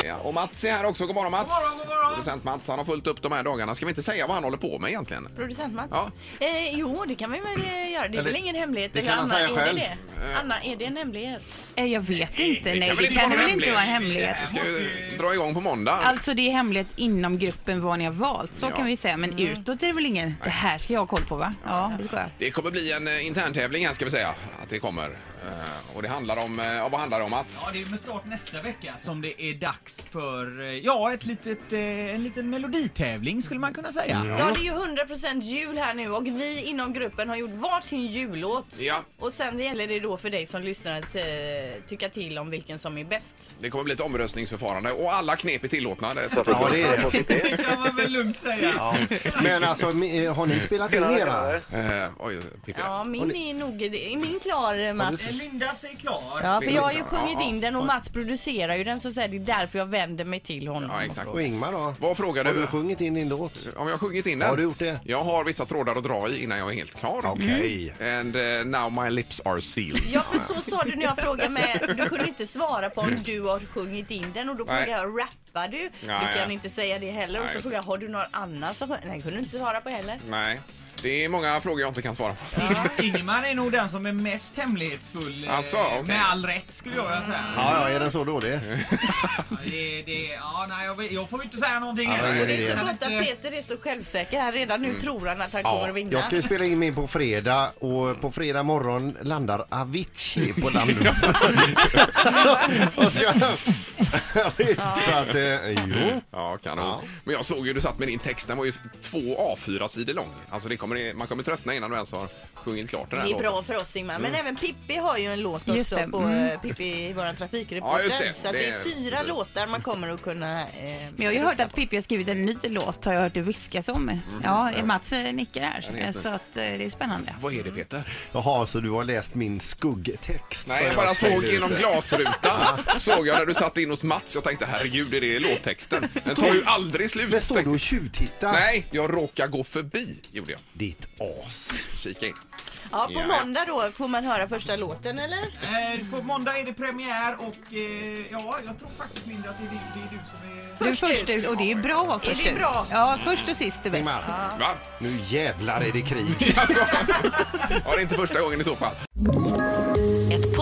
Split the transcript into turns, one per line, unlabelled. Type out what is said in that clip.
säga. Och Mats är här också. God morgon Mats!
God morgon, god morgon.
Producent Mats, han har fullt upp de här dagarna. Ska vi inte säga vad han håller på med egentligen?
Producent Mats?
Ja.
Eh, jo, det kan vi väl eh, göra. Det är
Eller-
väl ingen hemlighet?
det
eller
kan han
Anna,
säga
är det
själv.
det? Anna, är det en hemlighet?
Eh, Jag vet inte.
Det
Nej,
kan väl
det
inte
kan
vara en
väl inte vara en
hemlighet?
hemlighet.
Vi ska ju dra igång på måndag.
Alltså det är hemlighet inom gruppen vad ni har valt, så
Ja.
kan vi säga. Men utåt är det väl ingen, det här ska jag ha koll på va? Ja, det ska jag.
Det kommer bli en eh, interntävling här ska vi säga att det kommer. Eh, och det handlar om, eh, ja, vad handlar det om Mats?
Ja, det är med start nästa vecka som det är dags för, eh, ja, ett litet, eh, en liten meloditävling skulle man kunna säga.
Ja, det är ju 100% jul här nu och vi inom gruppen har gjort varsin jullåt.
Ja.
Och sen gäller det då för dig som lyssnar att eh, tycka till om vilken som är bäst.
Det kommer bli ett omröstningsförfarande och alla knep är tillåtna. Det är så-
Ja, det är det.
Det kan man väl lugnt säga.
Men alltså, mi- eh, har ni spelat in era?
Eh, oj, Pippi.
Ja, min är nog... Är min klar, eh,
Eh,
Mats?
Lindas är klar.
Ja, för jag har ju
Ja,
sjungit
ja.
in den och Mats producerar ju den så att säga, det är därför jag vänder mig till honom.
Ja, exakt.
Och Ingmar då?
Vad frågar
Har du
du?
sjungit in din låt?
Om jag sjungit in den?
Har du gjort det?
Jag har vissa trådar att dra i innan jag är helt klar.
Okej.
And eh, now my lips are sealed.
Ja, för så sa du när jag frågade mig. Du kunde inte svara på om du har sjungit in den och då
Nej.
frågade jag rappar du?
Nej.
du kan inte säga det heller.
Nej,
och så
just
frågade jag har du någon annan som Nej, kunde du inte svara på heller.
Nej, det är många frågor jag inte kan svara på.
Ingemar är nog den som är mest hemlighetsfull. eh,
Alltså, okej.
Med all rätt skulle jag vilja säga.
Ja, ja, är den så dålig?
Ja. Det, det, ja, nej, jag, vet- jag får ju inte säga någonting
Ja,
heller.
men
Det
det
är
är
så
Han
gott att
Mm.
inte-
Peter är så självsäker här. Redan
Mm.
nu tror han att han kommer att vinna.
Jag ska ju spela in min på fredag och på fredag morgon landar Avicii på landbanan. Och så- Ja, visst, så att, eh, jo.
Ja, kanon.
Ja.
Men jag såg ju du satt med din text, den var ju två A4-sidor lång. Alltså det kommer, man kommer tröttna innan du ens har sjungit klart den här
Det är
låten. Mm.
bra för oss Ingmar. Men även Pippi har ju en låt
Just
också
det,
på
mm.
eh, Pippi, våran trafikreporter.
Ja, just det.
Så att det är
Det-
fyra
precis.
låtar man kommer att kunna eh,
Men jag har ju hört
rösta
att
på.
Pippi har skrivit en ny låt, har jag hört det viskas om. Ja, Mats eh, nickar
Den
här,
heter-
eh, så att eh, det är spännande.
Vad är det Peter?
Jaha, så du har läst min skuggtext?
Nej,
som
jag bara
slängde
såg
ut
genom
där.
glasrutan. såg jag när du satt in hos Mats. Jag tänkte herregud, är det låttexten? Den tar ju aldrig slut.
Men står
tänkte
du och
jag.
tjuvtittar?
Nej, jag råkade gå förbi, gjorde jag.
Ditt as.
Kika in.
Ja, på
Ja.
måndag då får man höra första låten eller?
Eh, På måndag är det premiär och eh, ja, jag tror faktiskt Linda att det är du, det är du som är...
Du är
Först ut.
först ut och det är bra att vara först
det
ut.
bra?
Ja, först och sist är bäst.
Ingmar,
Va?
nu jävlar är det krig.
Alltså, ja, det är inte första gången i så fall.
Ett